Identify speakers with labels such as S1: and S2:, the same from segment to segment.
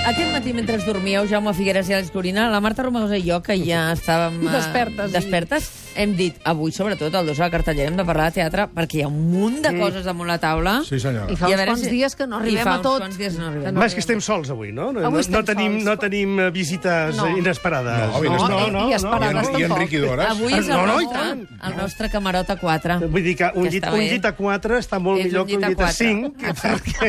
S1: Aquest matí, mentre dormíeu, Jaume Figueres i Àlex Corina, la Marta Romagosa i jo, que ja estàvem... eh,
S2: Despertes, sí.
S1: Despertes, hem dit, avui, sobretot, al dos de la cartellera, hem de parlar de teatre, perquè hi ha un munt de coses damunt la taula.
S3: Sí, senyora.
S2: I fa
S1: I a
S2: uns
S1: veure
S2: quants
S1: si-
S2: dies que no arribem
S1: I fa
S2: a tot.
S1: uns quants dies que no arribem.
S2: no.
S4: Home, és que estem sols avui, no? No,
S2: Avui
S4: no, no
S2: estem
S4: tenim,
S2: sols.
S4: no tenim eh, visites
S2: No.
S4: eh, inesperades.
S3: No, no,
S2: no, inesperades
S3: I, en, I
S2: tampoc.
S3: Enriqui Dores.
S1: Avui és el,
S4: No, no, i
S1: nostre,
S4: tant.
S1: el nostre camarot a 4.
S4: Vull dir que un,
S1: Ja
S4: llit,
S1: està
S4: un
S1: bé.
S4: llit a 4 està molt
S1: És
S4: millor
S1: un
S4: que un
S1: llit
S4: llit
S1: a
S4: a
S1: quatre.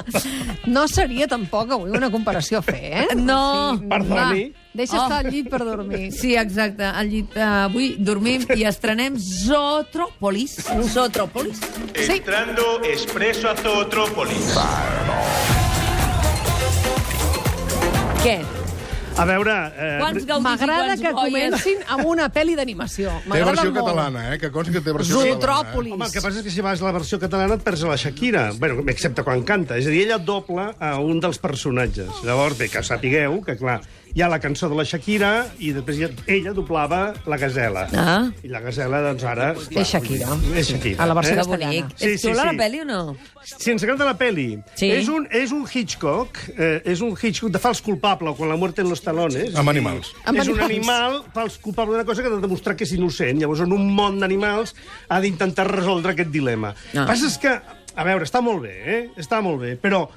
S4: 5. Perquè...
S2: No seria tampoc avui una comparació a fer, eh?
S1: No!
S4: Perdoni.
S2: Va, deixa
S1: Oh.
S2: estar al llit per dormir.
S1: Sí, exacte. Al llit eh, avui dormim i estrenem Zootropolis. Zootropolis.
S2: Sí.
S5: Entrando expreso a Zootrópolis.
S1: Què?
S4: A veure, eh,
S1: Quants gaudis i
S2: M'agrada
S1: quants
S2: que
S1: boies?
S2: comencin amb una pel·li d'animació.
S3: Té
S2: M'agrada
S3: versió
S2: molt.
S3: catalana, eh? Que consti que té versió
S2: Zootròpolis.
S4: home, el que passa és que si vas a la versió catalana et perds a la Shakira, bueno, excepte quan canta. És a dir, ella dobla a un dels personatges. Llavors, bé, que sapigueu que, clar, hi ha la cançó de la Shakira i després hi ha- ella doblava la gasela.
S1: Ah.
S4: I la gasela, doncs, ara...
S2: És Shakira.
S4: És Shakira.
S2: A la versió
S4: eh?
S1: Que
S2: Castellana.
S1: bonic.
S4: Sí,
S1: és
S4: sí,
S1: xula
S4: sí.
S1: la pel·li o no?
S4: Si ens agrada la peli,
S1: Sí.
S4: és, un, és un Hitchcock, eh, és un Hitchcock de fals culpable, quan la muerte en los talones.
S3: Amb animals.
S2: Amb
S4: és un
S2: animals.
S4: animal fals culpable d'una cosa que ha de demostrar que és innocent. Llavors, en un món d'animals, ha d'intentar resoldre aquest dilema.
S1: Ah.
S4: El que passa és que, a veure, està molt bé, eh? Està molt bé, però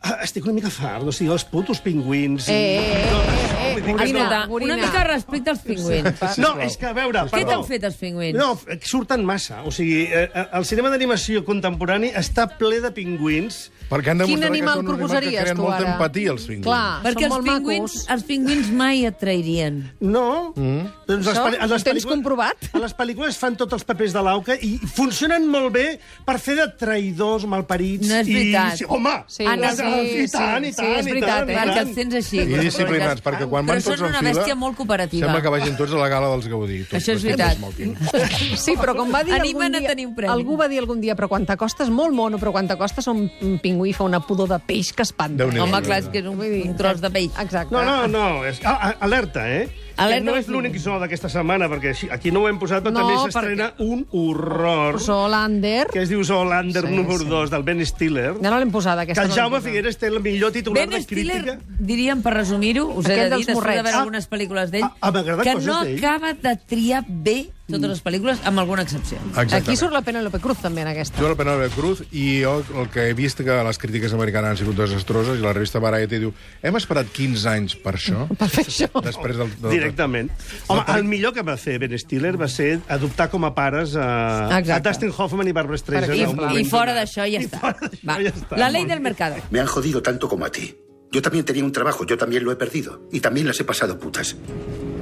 S4: ah, estic una mica fart, o sigui, els putos pingüins...
S2: Eh, eh, eh, eh, eh,
S1: Escolta,
S2: Gorina,
S1: una
S2: Gorina.
S1: mica respecte als pingüins.
S4: No, és que, a veure,
S1: Ah, Què
S4: perdó.
S1: t'han fet eh? els pingüins?
S4: No, f- surten massa. O sigui, eh, eh, el cinema d'animació contemporani està ple de pingüins
S3: eh? Perquè han
S2: Quin animal
S3: demostrat que són un animal que
S2: proposaries,
S3: creen
S2: tu,
S3: molta
S2: ara?
S3: empatia, els pingüins.
S2: Clar,
S1: Perquè
S2: són
S1: els
S2: molt
S1: pingüins,
S2: macos.
S1: els pingüins mai et trairien.
S4: No. Mm. Doncs
S2: Això
S4: pel-
S2: ho tens
S4: pel·lícules-
S2: comprovat?
S4: A les pel·lícules fan tots els papers de l'auca i funcionen molt bé per fer de traïdors, malparits...
S1: No és veritat.
S4: I... sí, Home!
S2: Sí,
S4: I
S1: Anna,
S4: tant,
S2: sí, sí,
S4: i Ah, tant, i
S2: sí,
S4: tant,
S2: és
S4: i
S2: veritat, eh?
S4: tant, i
S1: Perquè
S4: tant.
S1: els tens així.
S3: I disciplinats, perquè quan van
S1: Però
S3: tots
S1: són
S3: en
S1: una
S3: fila...
S1: bèstia molt cooperativa.
S3: Sembla que vagin tots a la gala dels Gaudí. Tots,
S1: Això és
S3: vestits
S1: veritat.
S3: d'esmòquing.
S2: Sí, però com va dir
S1: Animen a
S2: algun dia...
S1: tenir un premi.
S2: Algú va dir algun dia, però quan t'acostes, molt mono, però quan t'acostes un un pingüí fa una pudor de peix que espanta.
S3: Déu-n'hi-do.
S1: Home, clar, és que és un, un tros de pell.
S2: Exacte.
S4: No, no, no. És... Ah, ah, alerta, eh?
S1: Alerta
S4: Que no
S1: dels
S4: és l'únic so d'aquesta setmana, perquè així- aquí no ho hem posat, però
S2: No,
S4: també s'estrena un horror
S2: Solander.
S4: que es diu Zoolander
S2: Sí,
S4: número
S2: sí.
S4: 2, del Ben Stiller,
S2: Ja no l'hem posat,
S4: que
S2: aquesta.
S4: el
S2: no l'hem
S4: Jaume
S2: posat.
S4: Figueres té el millor titular
S1: Ben
S4: de crítica.
S1: Stiller, diríem, per resumir-ho, us he de
S2: Aquell
S1: dir,
S2: dels
S1: després de
S2: morrets.
S1: veure
S4: Ah,
S1: algunes pel·lícules d'ell,
S4: ah, ah, m'agrada
S1: que
S4: coses
S1: no
S4: d'ell.
S1: acaba de triar bé totes les pel·lícules, amb alguna excepció.
S4: Ah,
S3: Exactament.
S2: Aquí surt la Penélope Cruz, també, en aquesta.
S3: Jo el Penélope Cruz i jo el que he vist que les crítiques americanes han sigut desastroses i la revista Variety diu hem esperat 15 anys per això
S2: Per fer això.
S3: després del... del
S4: Directament.
S3: eh,
S4: Home, el millor que va fer Ben Stiller va ser adoptar com a pares eh, a, a
S1: Exacte.
S4: Dustin Hoffman i Barbara Streisand.
S1: I,
S4: en un moment
S1: i fora
S4: donat.
S1: d'això ja
S4: I
S1: està.
S4: fora d'això
S1: Va.
S4: ja està.
S1: La ley del mercado.
S6: Me han jodido tanto como a ti. Yo también tenía un trabajo, yo también lo he perdido. Y también las he pasado putas.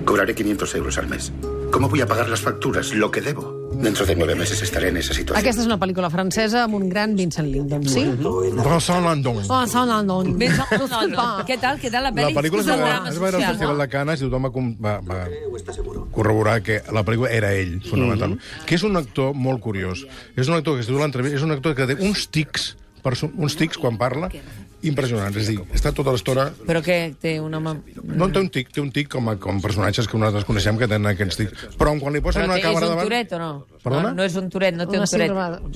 S6: Cobraré 500 euros al mes. ¿Cómo voy a pagar las facturas? Lo que debo. Dentro de nueve meses estaré en esa situación.
S2: Aquesta és una pel·lícula francesa amb un gran Vincent Lindon, sí?
S3: Vincent Landon.
S2: Oh, Vincent Lindon.
S1: Vinga, no, no, no. Què tal? Què tal la
S3: La
S1: pel·li?
S3: pel·lícula es
S1: És
S3: va,
S1: un drama
S3: es va veure al
S1: social.
S3: Festival de Canes i tothom va, com- va, va corroborar que la pel·lícula era ell, fonamentalment. Que és un actor molt curiós. És un actor que es diu l'entrevista, és un actor que té uns tics, perso- uns tics quan parla, impressionants. És a dir, està tota l'estona
S1: Però què té un home...
S3: No té un tic, té un tic com, a, com personatges que nosaltres coneixem que tenen aquests tics. Però quan li posen
S1: Però
S3: una
S1: té, és
S3: càmera
S1: un
S3: davant...
S1: turet o no?
S3: Perdona?
S1: No, no és un turet, no té
S2: Una
S1: un turet.
S2: síndrome...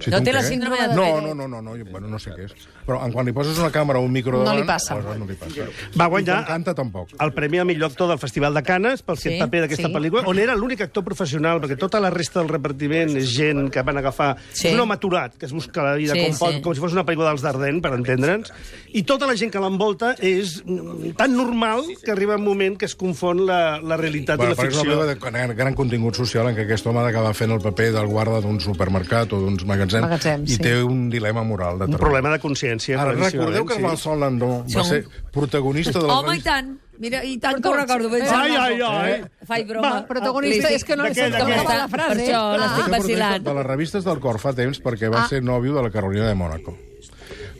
S3: Sí,
S1: no
S3: té un
S1: té la
S3: què?
S1: síndrome de
S3: No,
S1: Tourette.
S3: no, no, no, no, jo, bueno, no sé què és. Però en quan li poses una càmera o un micro
S2: No
S3: davant...
S2: li passa.
S3: aleshores No li passa.
S4: Va
S3: I quan
S4: guanyar
S3: canta, tampoc.
S4: el Premi al millor actor del Festival de Canes pel
S1: Sí,
S4: sí, paper d'aquesta
S2: sí.
S4: pel·lícula, on era l'únic actor professional, perquè tota la resta del repartiment és gent que van agafar
S1: Sí.
S4: sí. un home aturat, que es busca la vida
S1: Sí,
S4: sí, com pot,
S1: sí.
S4: sí. com si fos una pel·lícula dels Dardenne, per entendre'ns, i tota la gent que l'envolta és mm, tan normal que arriba un moment que es confon la, la realitat
S3: Bueno,
S4: i la
S3: però és una
S4: ficció.
S3: pel·lícula de gran, gran contingut social en què aquest home ha d'acabar fent el paper del guarda d'un supermercat o d'uns magatzems
S2: Magatzem,
S3: i
S2: sí.
S3: té un dilema moral.
S4: Un problema de consciència.
S3: Ara, recordeu
S4: claríssimament,
S3: que
S4: sí.
S3: Vincent Landon va
S1: Som-
S3: ser protagonista de la
S1: Home, i
S3: revista...
S1: tant. Mira, i tant que ho
S2: Però-
S1: recordo. Ben
S4: Ai, ai,
S1: Saramago.
S4: ai.
S1: Faig broma.
S4: Va,
S2: protagonista,
S1: Li-
S2: és que no li
S4: De què,
S2: surt
S4: de què?
S2: cap la frase.
S1: Per això l'estic
S2: eh? Clar.
S3: Va ser Ah, protagonista
S1: vacilant.
S3: De les revistes del cor fa temps perquè va
S2: Ah.
S3: ser nòvio de la Carolina de Mònaco.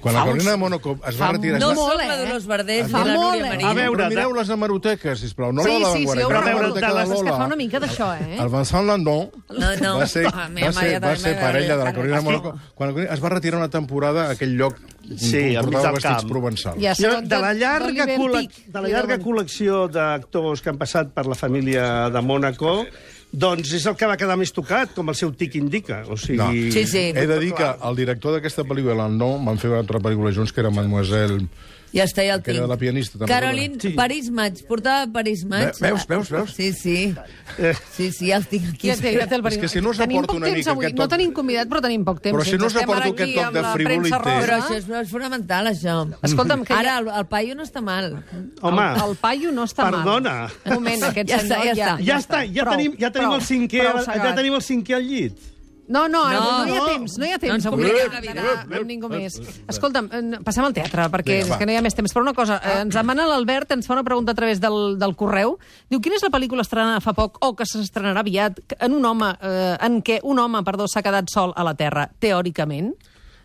S3: Quan la Carolina de Mònaco es va
S2: Fa
S3: retirar... es
S1: No
S3: va-
S2: molt,
S1: sóc la
S2: eh?
S1: Dolors Verdader ni
S2: Fa
S1: la
S2: molt,
S1: Núria
S2: eh?
S1: Marín.
S4: A veure,
S3: Però mireu les hemeroteques, sisplau. No
S2: Sí,
S3: la de
S2: sí,
S3: la
S2: sí,
S3: Vanguardia,
S2: ho
S3: que era la Ah,
S4: recordo.
S3: hemeroteca de
S2: És
S4: Les
S2: que fa
S3: Lola.
S2: una mica d'això, eh?
S3: El Vincent Landon
S1: No, no.
S3: va ser,
S1: Ah, meva mare també
S3: va ser, va ser
S1: m'agrada
S3: parella de la
S1: tant.
S3: Carolina de Mònaco. Quan la- es va retirar una temporada a aquell lloc
S4: Sí, al mig
S3: portava
S4: del
S3: vestits
S4: camp.
S3: provençals.
S2: Ja sé
S4: Jo,
S2: d'on-
S4: de la llarga,
S2: d'Oliver
S4: col·le-
S2: Pic.
S4: de la llarga col·lecció d'actors que han passat per la família de Mònaco, Doncs és el que va quedar més tocat, com el seu tic indica. O sigui...
S3: No.
S1: Sí, sí.
S3: He de dir que el director d'aquesta pel·lícula, el nou, van fer una altra pel·lícula junts, que era Mademoiselle...
S1: Ja està, ja el
S3: Que
S1: tinc.
S3: era la pianista, també.
S1: Caroline sí.
S4: Sí.
S1: París Match, portava París Match.
S3: Ve- veus, veus, veus?
S1: Sí,
S3: Eh.
S1: sí. Sí, sí, ja el tinc aquí.
S2: Ja té, ja té el
S3: És que si no us
S2: Tenim
S3: aporto
S2: poc
S3: una
S2: temps
S3: mica
S2: avui.
S3: aquest
S2: No
S3: toc-
S2: tenim convidat, però tenim poc temps.
S3: Però si no us
S2: Estem
S3: aporto
S2: ara
S3: aquest
S2: aquí
S3: toc
S2: amb
S3: de
S2: la premsa
S3: frivolités.
S1: Però
S2: rosa.
S1: això és, és fonamental, això.
S2: Escolta'm, que
S1: Ara,
S2: ja-
S1: el, el paio no està mal.
S4: Home,
S2: El, el paio no està
S4: perdona.
S2: mal. Un moment, aquest
S1: Ja està,
S2: senyor
S1: ja està.
S4: Ja està, ja
S2: Prou,
S4: tenim, ja tenim
S2: prou,
S4: el cinquè,
S2: prou, s'ha
S4: ja
S2: acabat.
S4: tenim el cinquè al llit.
S2: No, no, no,
S1: No,
S2: no, hi ha
S1: no.
S2: temps, no hi ha
S1: No
S2: temps.
S1: ens
S2: No
S1: oblidem.
S2: convidem a dinar amb ningú més. Escolta'm, eh, passem al teatre, perquè és que no hi ha més temps. Però una cosa, eh,
S4: Ah.
S2: ens demana l'Albert, ens fa una pregunta a través del, del correu. Diu, quina és la pel·lícula estrenada fa poc, o que s'estrenarà aviat, en un home, eh, en què un home, perdó, s'ha quedat sol a la Terra, teòricament?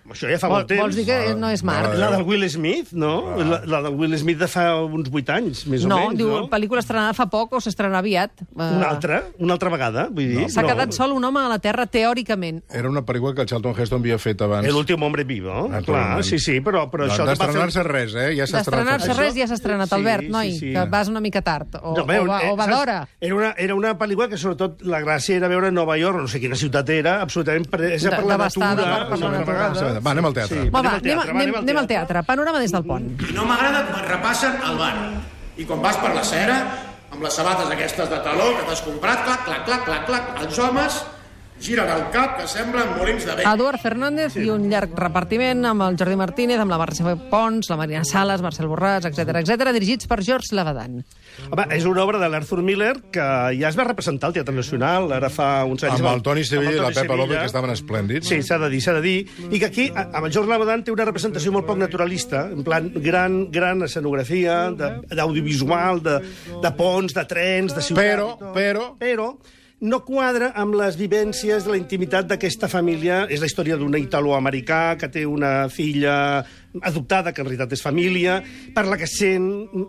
S4: Això ja fa
S2: Vol,
S4: molt temps.
S2: vols dir que no és Marc?
S4: La del Will Smith, no?
S3: Ah.
S4: La, la del Will Smith de fa uns vuit anys, més
S2: No,
S4: o menys,
S2: diu,
S4: no?
S2: pel·lícula estrenada fa poc o s'estrenarà aviat. Eh,
S4: Una altra, una altra vegada, vull dir.
S2: S'ha quedat sol un home a la Terra, teòricament.
S3: Era una pel·lícula que el Charlton Heston havia fet abans. Ah,
S4: El últim hombre vivo,
S3: Naturalment.
S4: clar, sí, sí, però, però això... que va fer-
S3: doncs. D'estrenar-se res, eh? Ja s'ha estrenat.
S2: D'estrenar-se
S4: Això-
S2: res ja s'ha estrenat,
S4: Sí,
S2: Albert,
S4: sí,
S2: noi,
S4: sí.
S2: que vas una mica tard. O,
S4: No, bé,
S2: o va,
S4: eh,
S2: o va
S4: saps?
S2: d'hora.
S4: Era una, era una pel·lícula que, sobretot, la gràcia era veure Nova York, no sé quina ciutat era, absolutament presa
S2: De-
S4: per la natura.
S2: devastada per- per la
S4: una
S2: natura.
S4: vegada.
S3: Va, anem al teatre.
S4: Sí,
S2: Va, va,
S4: al teatre,
S2: anem,
S4: va,
S2: anem, anem al teatre. Panorama des del pont.
S7: I no m'agrada quan repassen el bar. I quan vas per la cera, amb les sabates aquestes de taló que t'has comprat, clac, clac, clac, clac, clac, els homes giren el cap que semblen molins de vent.
S2: Eduard Fernández i un llarg repartiment amb el Jordi Martínez, amb la Mercè Pons, la Marina Sales, Marcel Borràs, etc etc dirigits per George Lavadan.
S4: Home, és una obra de l'Arthur Miller que ja es va representar al Teatre Nacional ara fa uns anys.
S3: Amb el Toni
S4: Amb
S3: Sevilla i la
S4: Toni
S3: Pepa López,
S4: Sevilla.
S3: que estaven esplèndids.
S4: Sí, s'ha de dir, s'ha de dir. I que aquí, a- amb el Jordi Labadan, té una representació molt poc naturalista, en plan, gran, gran escenografia, de- d'audiovisual, de, de ponts, de trens, de ciutat...
S3: Però,
S4: i tot.
S3: però-
S4: Però no quadra amb les vivències de la intimitat d'aquesta família. És la història d'un italoamericà que té una filla adoptada, que en realitat és família, per la que sent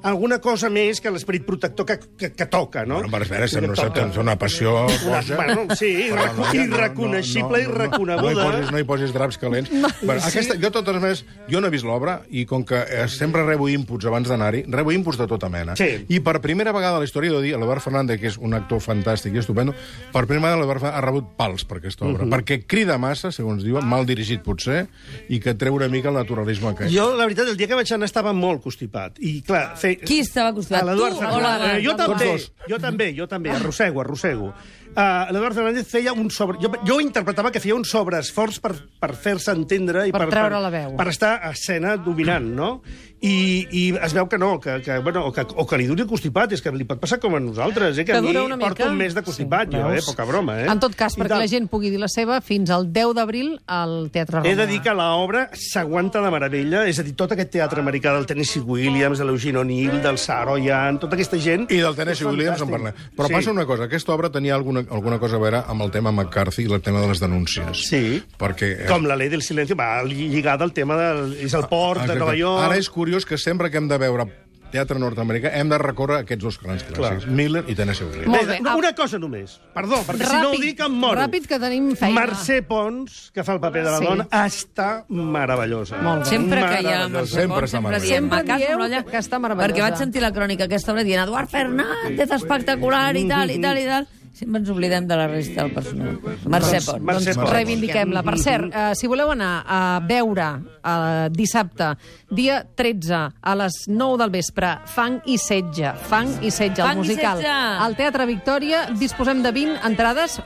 S4: alguna cosa més que l'esperit protector que, que, que toca, no?
S3: Bueno, per veure,
S4: Que
S3: sembla
S4: toca.
S3: una, una passió
S4: Una-
S3: boja.
S4: bueno, sí,
S3: Però no,
S4: irreco-
S3: no, no,
S4: irreconeixible,
S3: no, no, no,
S4: irreconeguda.
S3: No hi posis, no hi posis draps calents. No, bueno, aquesta, jo, de totes maneres, jo no he vist l'obra i com que eh, sempre rebo inputs abans d'anar-hi, rebo inputs de tota mena.
S4: Sí.
S3: I per primera vegada a la història, he de dir, l'Albert Fernández, que és un actor fantàstic i estupendo, per primera vegada l'Albert Fernández ha rebut pals per aquesta obra,
S4: Mhm.
S3: perquè crida massa, segons diuen, mal dirigit potser, i que treu una mica el naturalisme que és.
S4: Jo, la veritat, el dia que vaig anar estava molt constipat. I, clar, fe...
S1: Qui estava acostumbat?
S4: A l'Eduard
S1: Tu o
S4: Fernández.
S1: la-
S4: Eh, jo,
S1: la-
S4: també,
S3: Tots
S4: jo també, jo també, arrossego, arrossego. Uh, L'Eduard Fernández feia un sobre... Jo, jo interpretava que feia un sobreesforç per, per fer-se entendre... I
S2: Per treure la veu.
S4: Per estar a escena dominant, no? I, i es veu que no, que, que, bueno, o, que, o que li duri el constipat, és que li pot passar com a nosaltres, eh? que,
S2: Que
S4: a mi
S2: dura una mica.
S4: porto un mes de constipat,
S2: Sí,
S4: sí, jo, eh?
S2: veus?
S4: poca broma. Eh?
S2: En tot cas,
S4: I
S2: perquè
S4: tal.
S2: la gent pugui dir la seva, fins al 10 d'abril al Teatre Roma.
S4: He de dir que l'obra s'aguanta de meravella, és a dir, tot aquest teatre americà del Tennessee Williams, de l'Eugene O'Neill, del Saroyan, tota aquesta gent...
S3: I del Tennessee Williams en parlem. Però sí. passa una cosa, aquesta obra tenia alguna, alguna cosa a veure amb el tema McCarthy i el tema de les denúncies.
S4: Sí.
S3: Perquè... eh,
S4: Com la llei del silenci va lligada al tema del... És el
S3: Ah,
S4: port de
S3: exacte.
S4: Nova York...
S3: Ara és curiós que sempre que hem de veure teatre nord-americà hem de recórrer a aquests dos grans clàssics, Miller i Tennessee Williams.
S2: Molt
S4: Bé,
S2: bé,
S4: no,
S2: au.
S4: una cosa només. Perdó, perquè si no ho
S2: Ràpid,
S4: dic em moro.
S2: ràpid, que tenim feina.
S4: Mercè Pons, que fa el paper de la
S2: Sí.
S4: dona, està meravellosa.
S2: Molt bé.
S1: Sempre que hi ha
S4: Meravellosa.
S1: Mercè
S3: Sempre
S1: Pons,
S3: està
S1: sempre,
S3: meravellosa.
S1: diem,
S2: Sempre
S1: "Maca,
S2: dieu
S1: Sorolla",
S2: que està meravellosa.
S1: Perquè vaig sentir la crònica aquesta obra dient Eduard Fernández, espectacular, i tal, i tal, i tal. Sempre ens oblidem de la resta del personal. Mercè Pons.
S4: Mercè
S2: doncs
S4: Pons.
S2: reivindiquem-la. Per cert, eh, si voleu anar a veure eh, dissabte, dia 13, a les 9 del vespre, Fang i Setge, Fang i Setge,
S1: Fang i
S2: el musical.
S1: Setge!
S2: Al Teatre Victòria disposem de 20 entrades,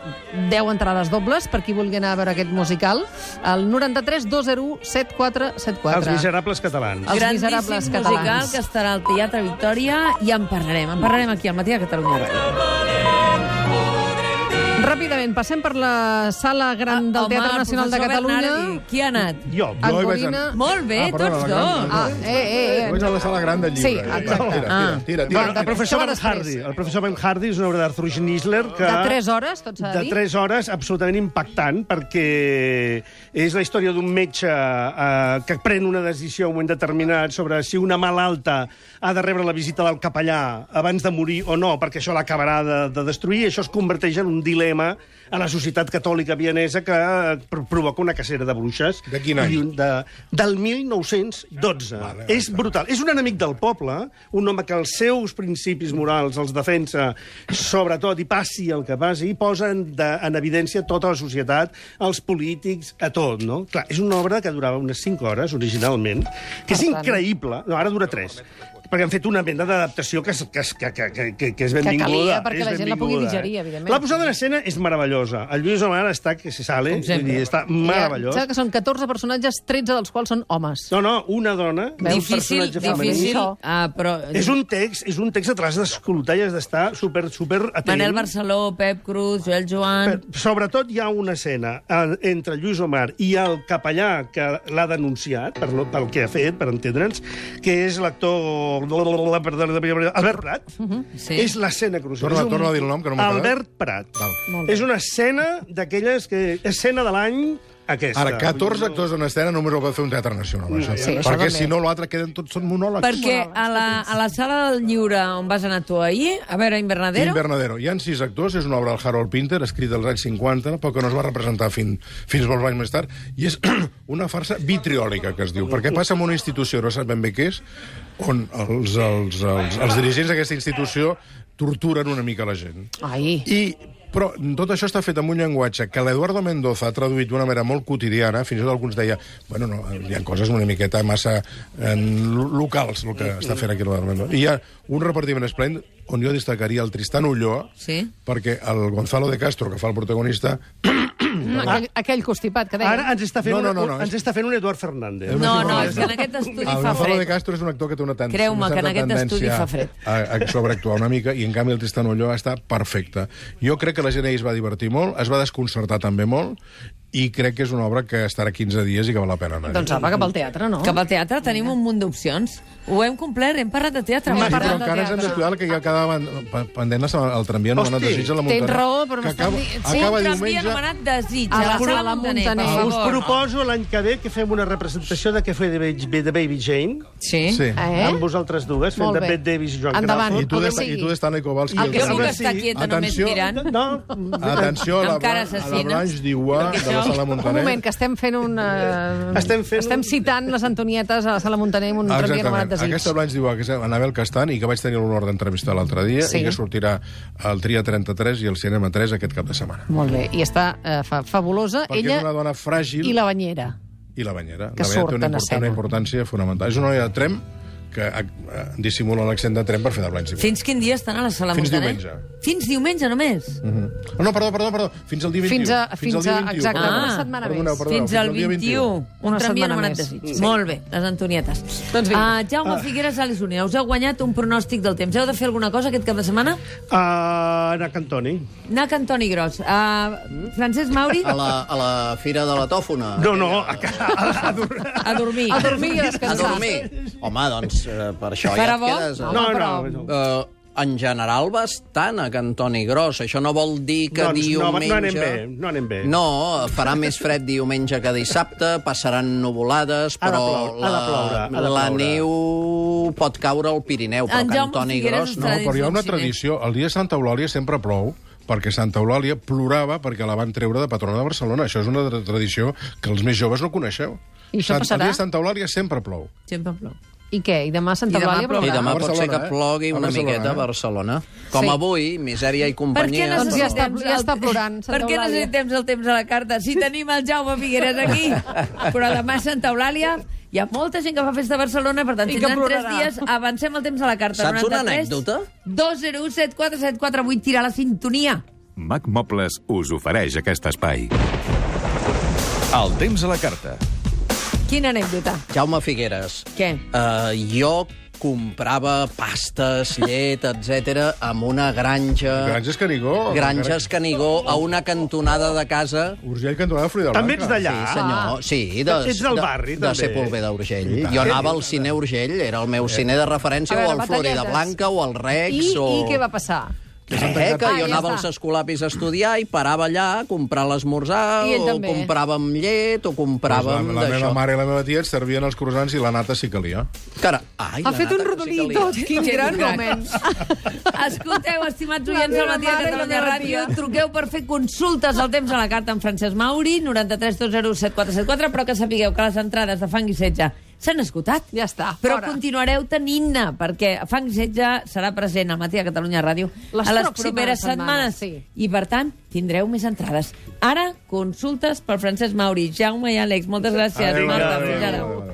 S2: 10 entrades dobles, per qui vulgui anar a veure aquest musical, al 93 201 7474.
S4: Els
S2: Ah,
S4: miserables catalans.
S2: Els
S1: Grandíssim
S2: miserables
S1: musical
S2: catalans.
S1: que estarà al Teatre Victòria i en parlarem. En parlarem aquí al matí a Catalunya Ràdio.
S2: Ràpidament, passem per la sala gran del
S1: Ah, Home,
S2: Teatre
S1: el
S2: Nacional de
S1: professor
S2: Catalunya.
S1: Bernardi, Qui ha anat?
S4: Jo,
S3: Jo hi vaig
S2: Antonina-
S3: anar.
S1: Molt bé,
S3: Ah, perdona,
S1: tots
S3: la
S1: dos.
S3: gran-
S2: Ah, eh, eh, eh.
S3: Vaig a la sala gran del llibre.
S2: Sí, exacte.
S3: Va, Tira,
S1: Ah.
S3: tira, tira.
S4: Bueno,
S3: tira,
S4: el professor
S2: Això va
S4: Ben
S2: després.
S4: Hardy. El professor Ben Hardy és una obra d'Arthur Schnitzler que...
S2: De tres hores, tot s'ha de
S4: De
S2: dir.
S4: 3 hores, absolutament impactant, perquè és la història d'un metge eh, que pren una decisió a un moment determinat sobre si una malalta ha de rebre la visita del capellà abans de morir o no, perquè això l'acabarà de, de destruir, i això es converteix en un dilema Viena, a la Societat Catòlica Vienesa, que eh, pr- provoca una cacera de bruixes.
S3: De quin any?
S4: I un De, del 1912.
S3: Vale,
S4: és brutal. És un enemic del poble, un home que els seus principis morals els defensa, sobretot, i passi el que passi, i posa en, de, en evidència tota la societat, els polítics, a tot, no? Clar, és una obra que durava unes 5 hores, originalment, que és increïble. No, ara dura 3 perquè han fet una mena d'adaptació que, es- que, es- que, que, que, que, que és benvinguda.
S2: calia perquè
S4: és
S2: la gent la pugui
S4: benvinguda, eh?
S2: digerir, evidentment.
S4: La posada en escena és meravellosa. El Lluís Omar està que se sale,
S1: Com
S4: vull
S1: sempre.
S4: dir, està meravellós.
S2: Sembla que són 14 personatges, 13 dels quals són homes.
S4: No, no, una dona, un
S1: Difícil,
S4: personatge femení.
S1: difícil.
S2: femení.
S1: Ah, però...
S4: És un text, és un text que t'has d'escoltar i has d'estar super, super atent.
S1: Manel Barceló, Pep Cruz, Joel Joan...
S4: Però, Sobretot hi ha una escena eh, entre Lluís Omar i el capellà que l'ha denunciat per lo, pel que ha fet, per entendre'ns, que és l'actor... Albert Prat.
S1: Mhm. Sí.
S4: És l'escena crucial.
S3: Torna-
S4: És un-
S3: torna a dir el nom, que no m'ha quedat.
S4: Albert Prat.
S3: Val.
S2: Molt bé.
S4: És una escena d'aquelles que... Escena de l'any aquesta.
S3: Ara, 14 actors en escena només ho pot fer un teatre nacional, això.
S2: Sí, això
S3: Perquè
S2: també.
S3: si no, l'altre queden tots són monòlegs.
S1: Perquè a la, a la sala del lliure on vas anar tu ahir, a veure, Invernadero,
S3: Invernadero. Hi ha sis actors, és una obra del Harold Pinter, escrita als anys 50, però que no es va representar fin, fins molts anys més tard, i és una farsa vitriòlica, que es diu, perquè passa en una institució, no saps ben bé què és, on els, els, els, els dirigents d'aquesta institució torturen una mica la gent.
S2: Ai.
S3: I, però tot això està fet amb un llenguatge que l'Eduardo Mendoza ha traduït d'una manera molt quotidiana, fins i tot alguns deia, bueno, no, hi ha coses una miqueta massa eh, lo- locals, el que està fent aquí l'Eduardo Mendoza. I hi ha un repartiment esplèndid on jo destacaria el Tristan Ulloa,
S1: Sí.
S3: perquè el Gonzalo de Castro, que fa el protagonista,
S2: Mm, aquell, aquell constipat que deia.
S4: Ara ens està fent,
S3: No, no, no,
S4: un,
S3: no,
S4: ens està fent un Eduard Fernández.
S1: No, no, és que en aquest estudi
S3: el
S1: fa
S3: Gonzalo
S1: fred.
S3: de Castro és un actor que té una tendència...
S1: Creu-me,
S3: una
S1: que en
S3: certa
S1: aquest estudi
S3: tendència
S1: fa fred.
S3: A, a sobreactuar una mica, i en canvi el Tristan Ulloa està perfecte. Jo crec que la gent ahir es va divertir molt, es va desconcertar també molt, i crec que és una obra que estarà 15 dies i que val la pena anar.
S2: Doncs apa, cap al teatre, no?
S1: cap al teatre tenim un munt d'opcions. Ho hem complert, hem parlat de teatre.
S3: Sí,
S1: hem
S3: però
S1: parlat de
S3: encara ens hem
S1: teatre.
S3: d'estudiar el que ja quedava en- pa- pendent la setmana- el tramvia anomenat
S4: Hosti,
S3: Desig a la
S2: tens
S3: muntanya.
S2: raó, però
S3: que
S2: m'estan
S3: acaba,
S2: dient- Sí,
S3: acaba
S1: un tramvia
S3: diumenge...
S1: anomenat Desig, a
S2: A la
S1: Ah, la
S2: Sala
S1: sala Montaner.
S2: Montaner.
S1: per
S4: Ah, Us
S1: favor.
S4: proposo l'any que ve que fem una representació de què fer de Baby, de Baby Jane,
S1: Sí.
S3: Sí.
S2: Eh?
S4: amb vosaltres dues, fent
S2: Molt
S4: de
S2: bé.
S4: Bette Davis i Joan
S2: Endavant.
S3: I
S4: Crawford.
S3: tu,
S2: El que
S3: de, I tu
S2: sigui.
S3: de Stanley Kowalski...
S2: El
S3: i el
S1: Jo
S3: Castro.
S1: puc
S4: Ara
S1: estar
S4: sí.
S1: quieta
S3: Atenció.
S1: només mirant.
S4: No,
S3: Atenció a la,
S1: Amb cara
S3: a la
S1: assassina.
S3: Blanche Diua de la Sala Montaner.
S2: Un moment, que estem fent un... Eh...
S4: Estem fent
S2: Estem
S4: un-
S2: citant les Antonietes a la Sala Montaner amb un tramvia anomenat
S3: Ah, Exactament.
S2: Desig.
S3: Aquesta Blanche diu que és Anabel Castan i que vaig tenir l'honor d'entrevistar l'altre dia
S2: Sí.
S3: i que sortirà al Tria 33 i al Cinema 3 aquest cap de setmana.
S2: Molt bé, i està eh, fa, fabulosa.
S3: Perquè
S2: Ella
S3: és una dona fràgil
S2: i la banyera.
S3: i la banyera.
S2: que
S3: la banyera
S2: surt
S3: té una,
S2: en
S3: import-
S2: escena.
S3: una importància fonamental. És una noia de trem que eh, dissimula l'accent de trem per fer de Blanche Diua.
S1: Fins quin dia estan a la sala
S3: Fins
S1: Montaner?
S3: diumenge.
S1: Fins diumenge només?
S3: Oh, no, perdó, perdó, perdó. Fins al dia 21.
S2: Fins a... Fins a
S3: al dia 21.
S2: exacte,
S1: Ah.
S2: una setmana
S3: Perdoneu,
S2: més.
S3: perdó,
S1: Fins al 21. Un
S2: Una
S1: tramvia
S2: setmana
S1: anomenat
S2: més.
S1: desig. Molt bé, les Antonietes.
S2: Doncs vinga.
S1: Ah, Jaume Figueres, Alice Unida, us heu guanyat un pronòstic del temps. Heu de fer alguna cosa aquest cap de setmana?
S4: a Ana Cantoni.
S1: Anar a Cantoni Gros. Uh, Francesc Mauri,
S8: A la, a la fira de la tòfona.
S4: No, no, a, ca- a, a, dur-
S1: a dormir.
S2: A dormir i a
S8: A
S2: descansar.
S8: dormir. Home, doncs, eh, per això
S1: Farà
S8: ja et
S1: bo?
S8: quedes... eh?
S4: no,
S2: Home,
S4: no,
S2: però-
S4: no.
S8: Eh, en general, bastant a Cantoni Gros. Això no vol dir que
S4: Doncs no,
S8: diumenge...
S4: no anem bé, no anem bé.
S8: No, farà més fred diumenge que dissabte, passaran nuvolades,
S4: Ha de
S8: però
S4: ploure, ha de ploure, ha de
S8: la
S4: ploure.
S8: neu pot caure al Pirineu, però
S1: En Jaume
S8: Cantoni
S1: Figueres
S8: Gros
S1: està
S3: No,
S8: no.
S1: dient-
S3: però hi ha una
S1: Sí, sí.
S3: tradició. El dia de Santa Eulàlia sempre plou, perquè Santa Eulàlia plorava perquè la van treure de patrona de Barcelona. Això és una tra- tradició que els més joves no coneixeu.
S2: I això
S3: Sant-
S2: passarà?
S3: El dia de Santa Eulàlia sempre plou.
S1: Sempre plou.
S2: I què? I demà a Santa
S1: I demà
S2: Eulàlia
S1: plourà.
S8: I
S2: plourà?
S8: demà
S3: A
S8: pot ser que
S3: Barcelona, eh?
S8: plogui
S3: A
S8: una
S3: Barcelona,
S8: miqueta a
S3: eh?
S8: Barcelona. Com
S2: Sí.
S8: avui, misèria i companyia.
S2: Doncs ja
S8: però-
S2: està- ja està plorant, Santa
S1: Per què
S2: Eulàlia.
S1: necessitem el temps a la carta? Si tenim el Jaume Figueres aquí, però demà a Santa Eulàlia hi ha molta gent que fa festa a Barcelona, per tant,
S2: I que
S1: tindran tres
S2: plorarà.
S1: dies. Avancem el temps a la carta.
S8: Saps una
S1: 93,
S8: anècdota?
S1: 201 74748, tirar la sintonia.
S9: Mac Mobles us ofereix aquest espai. El temps a la carta.
S1: Quina anècdota?
S8: Jaume Figueres.
S1: Què?
S8: Uh, jo comprava pastes, llet, etc amb una granja...
S3: Granges Canigó.
S8: Granges Canigó, a una cantonada de casa...
S3: Urgell cantonada Fruita
S4: També ets d'allà.
S3: Ah.
S8: Sí, senyor. Sí, de,
S4: Ets del barri,
S8: de, de
S4: també.
S8: Sepulveda Urgell. Jo anava al cine
S3: Eh.
S8: Urgell, era el meu cine de referència,
S2: A veure,
S8: o al Florida
S2: batalletes.
S8: Blanca, o al Rex,
S2: I,
S8: o...
S2: I què va passar?
S8: Eh, que
S2: Ah, ja
S8: jo anava
S2: està.
S8: als escolapis a estudiar i parava allà a comprar l'esmorzar,
S2: I ell
S8: o
S2: també.
S8: compràvem llet, o
S3: Pues la,
S8: compràvem
S3: Doncs la meva
S8: d'això.
S3: mare i la meva tia et servien els croissants i la nata sí que lia.
S8: Cara, ai,
S2: Ha
S8: la
S2: fet un
S8: nata que sí
S2: rodolí
S8: que
S2: i
S8: li-
S2: tot. Quin
S1: Sí,
S2: gran
S1: un crac.
S2: moment.
S1: Escolteu, estimats
S2: La
S1: oients del
S2: meva
S1: Matí de
S2: mare i la
S1: Catalunya
S2: meva
S1: Ràdio,
S2: tia.
S1: truqueu per fer consultes al temps a la carta amb Francesc Mauri, 93 201 7474, però que sapigueu que les entrades de Fang i Setge s'han esgotat.
S2: Ja està,
S1: Però
S2: fora.
S1: continuareu tenint-ne, perquè Fang i Setge serà present al Matí de Catalunya Ràdio
S2: Les
S1: a les
S2: pròximes
S1: properes
S2: setmanes,
S1: setmanes.
S2: sí.
S1: I, per tant, tindreu més entrades. Ara, consultes per Francesc Mauri, Jaume i Àlex. Moltes gràcies,
S3: Adéu,
S1: Marta.
S3: adéu,
S1: Fins ara.
S3: adéu, adéu.